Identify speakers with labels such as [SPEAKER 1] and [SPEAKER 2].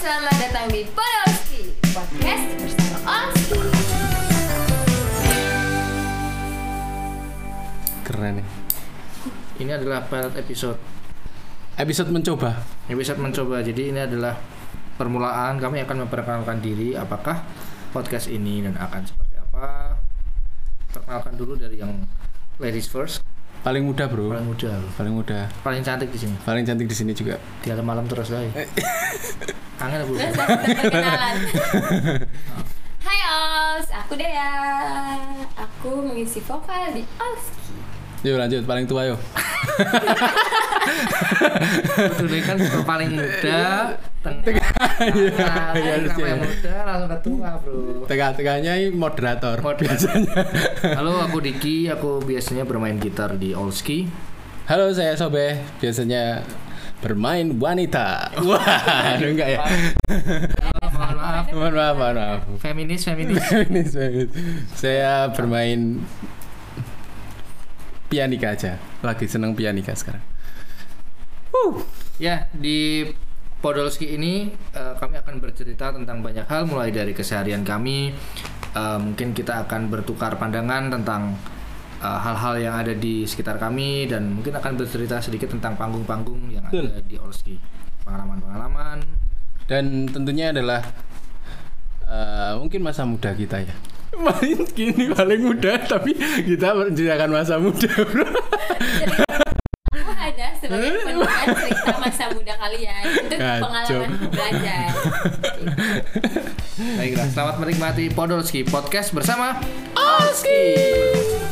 [SPEAKER 1] selamat datang di Podolski Podcast bersama Onski
[SPEAKER 2] Keren ya. nih.
[SPEAKER 3] Ini adalah pilot episode
[SPEAKER 2] Episode mencoba.
[SPEAKER 3] Episode mencoba Jadi ini adalah permulaan Kami akan memperkenalkan diri Apakah podcast ini dan akan seperti apa Perkenalkan dulu dari yang ladies first
[SPEAKER 2] Paling mudah, Bro.
[SPEAKER 3] Paling muda loh.
[SPEAKER 2] Paling mudah.
[SPEAKER 3] Paling cantik di sini
[SPEAKER 2] Paling cantik di sini juga.
[SPEAKER 3] Dia malam terus lah Angin bu
[SPEAKER 1] Terus kita perkenalan Hai Ols, aku Dea Aku mengisi vokal di Olski
[SPEAKER 2] Yuk lanjut, paling tua yuk.
[SPEAKER 3] Dulu kan suka paling muda Tengah Nah, Kenapa yang muda langsung ketua bro
[SPEAKER 2] Tengah-tengahnya ini moderator. biasanya.
[SPEAKER 3] Halo aku Diki Aku biasanya bermain gitar di Olski
[SPEAKER 2] Halo, saya Sobeh. Biasanya bermain wanita. Wah, aduh enggak ya.
[SPEAKER 3] Mohon maaf
[SPEAKER 2] Mohon maaf, mohon maaf.
[SPEAKER 3] Feminis, feminis
[SPEAKER 2] Ini saya- saya bermain pianika aja. Lagi seneng pianika sekarang.
[SPEAKER 3] Ya, di Podolski ini eh, kami akan bercerita tentang banyak hal mulai dari keseharian kami. Eh, mungkin kita akan bertukar pandangan tentang eh, hal-hal yang ada di sekitar kami dan mungkin akan bercerita sedikit tentang panggung-panggung yang ada di Olski. Pengalaman-pengalaman.
[SPEAKER 2] dan tentunya adalah eh, mungkin masa muda kita ya paling gini paling muda tapi kita menceritakan masa muda bro
[SPEAKER 1] Aku ada sebagai penulis cerita masa muda kalian Untuk
[SPEAKER 2] Kacau.
[SPEAKER 1] pengalaman belajar
[SPEAKER 3] Baiklah, selamat menikmati Podolski podcast bersama Olski.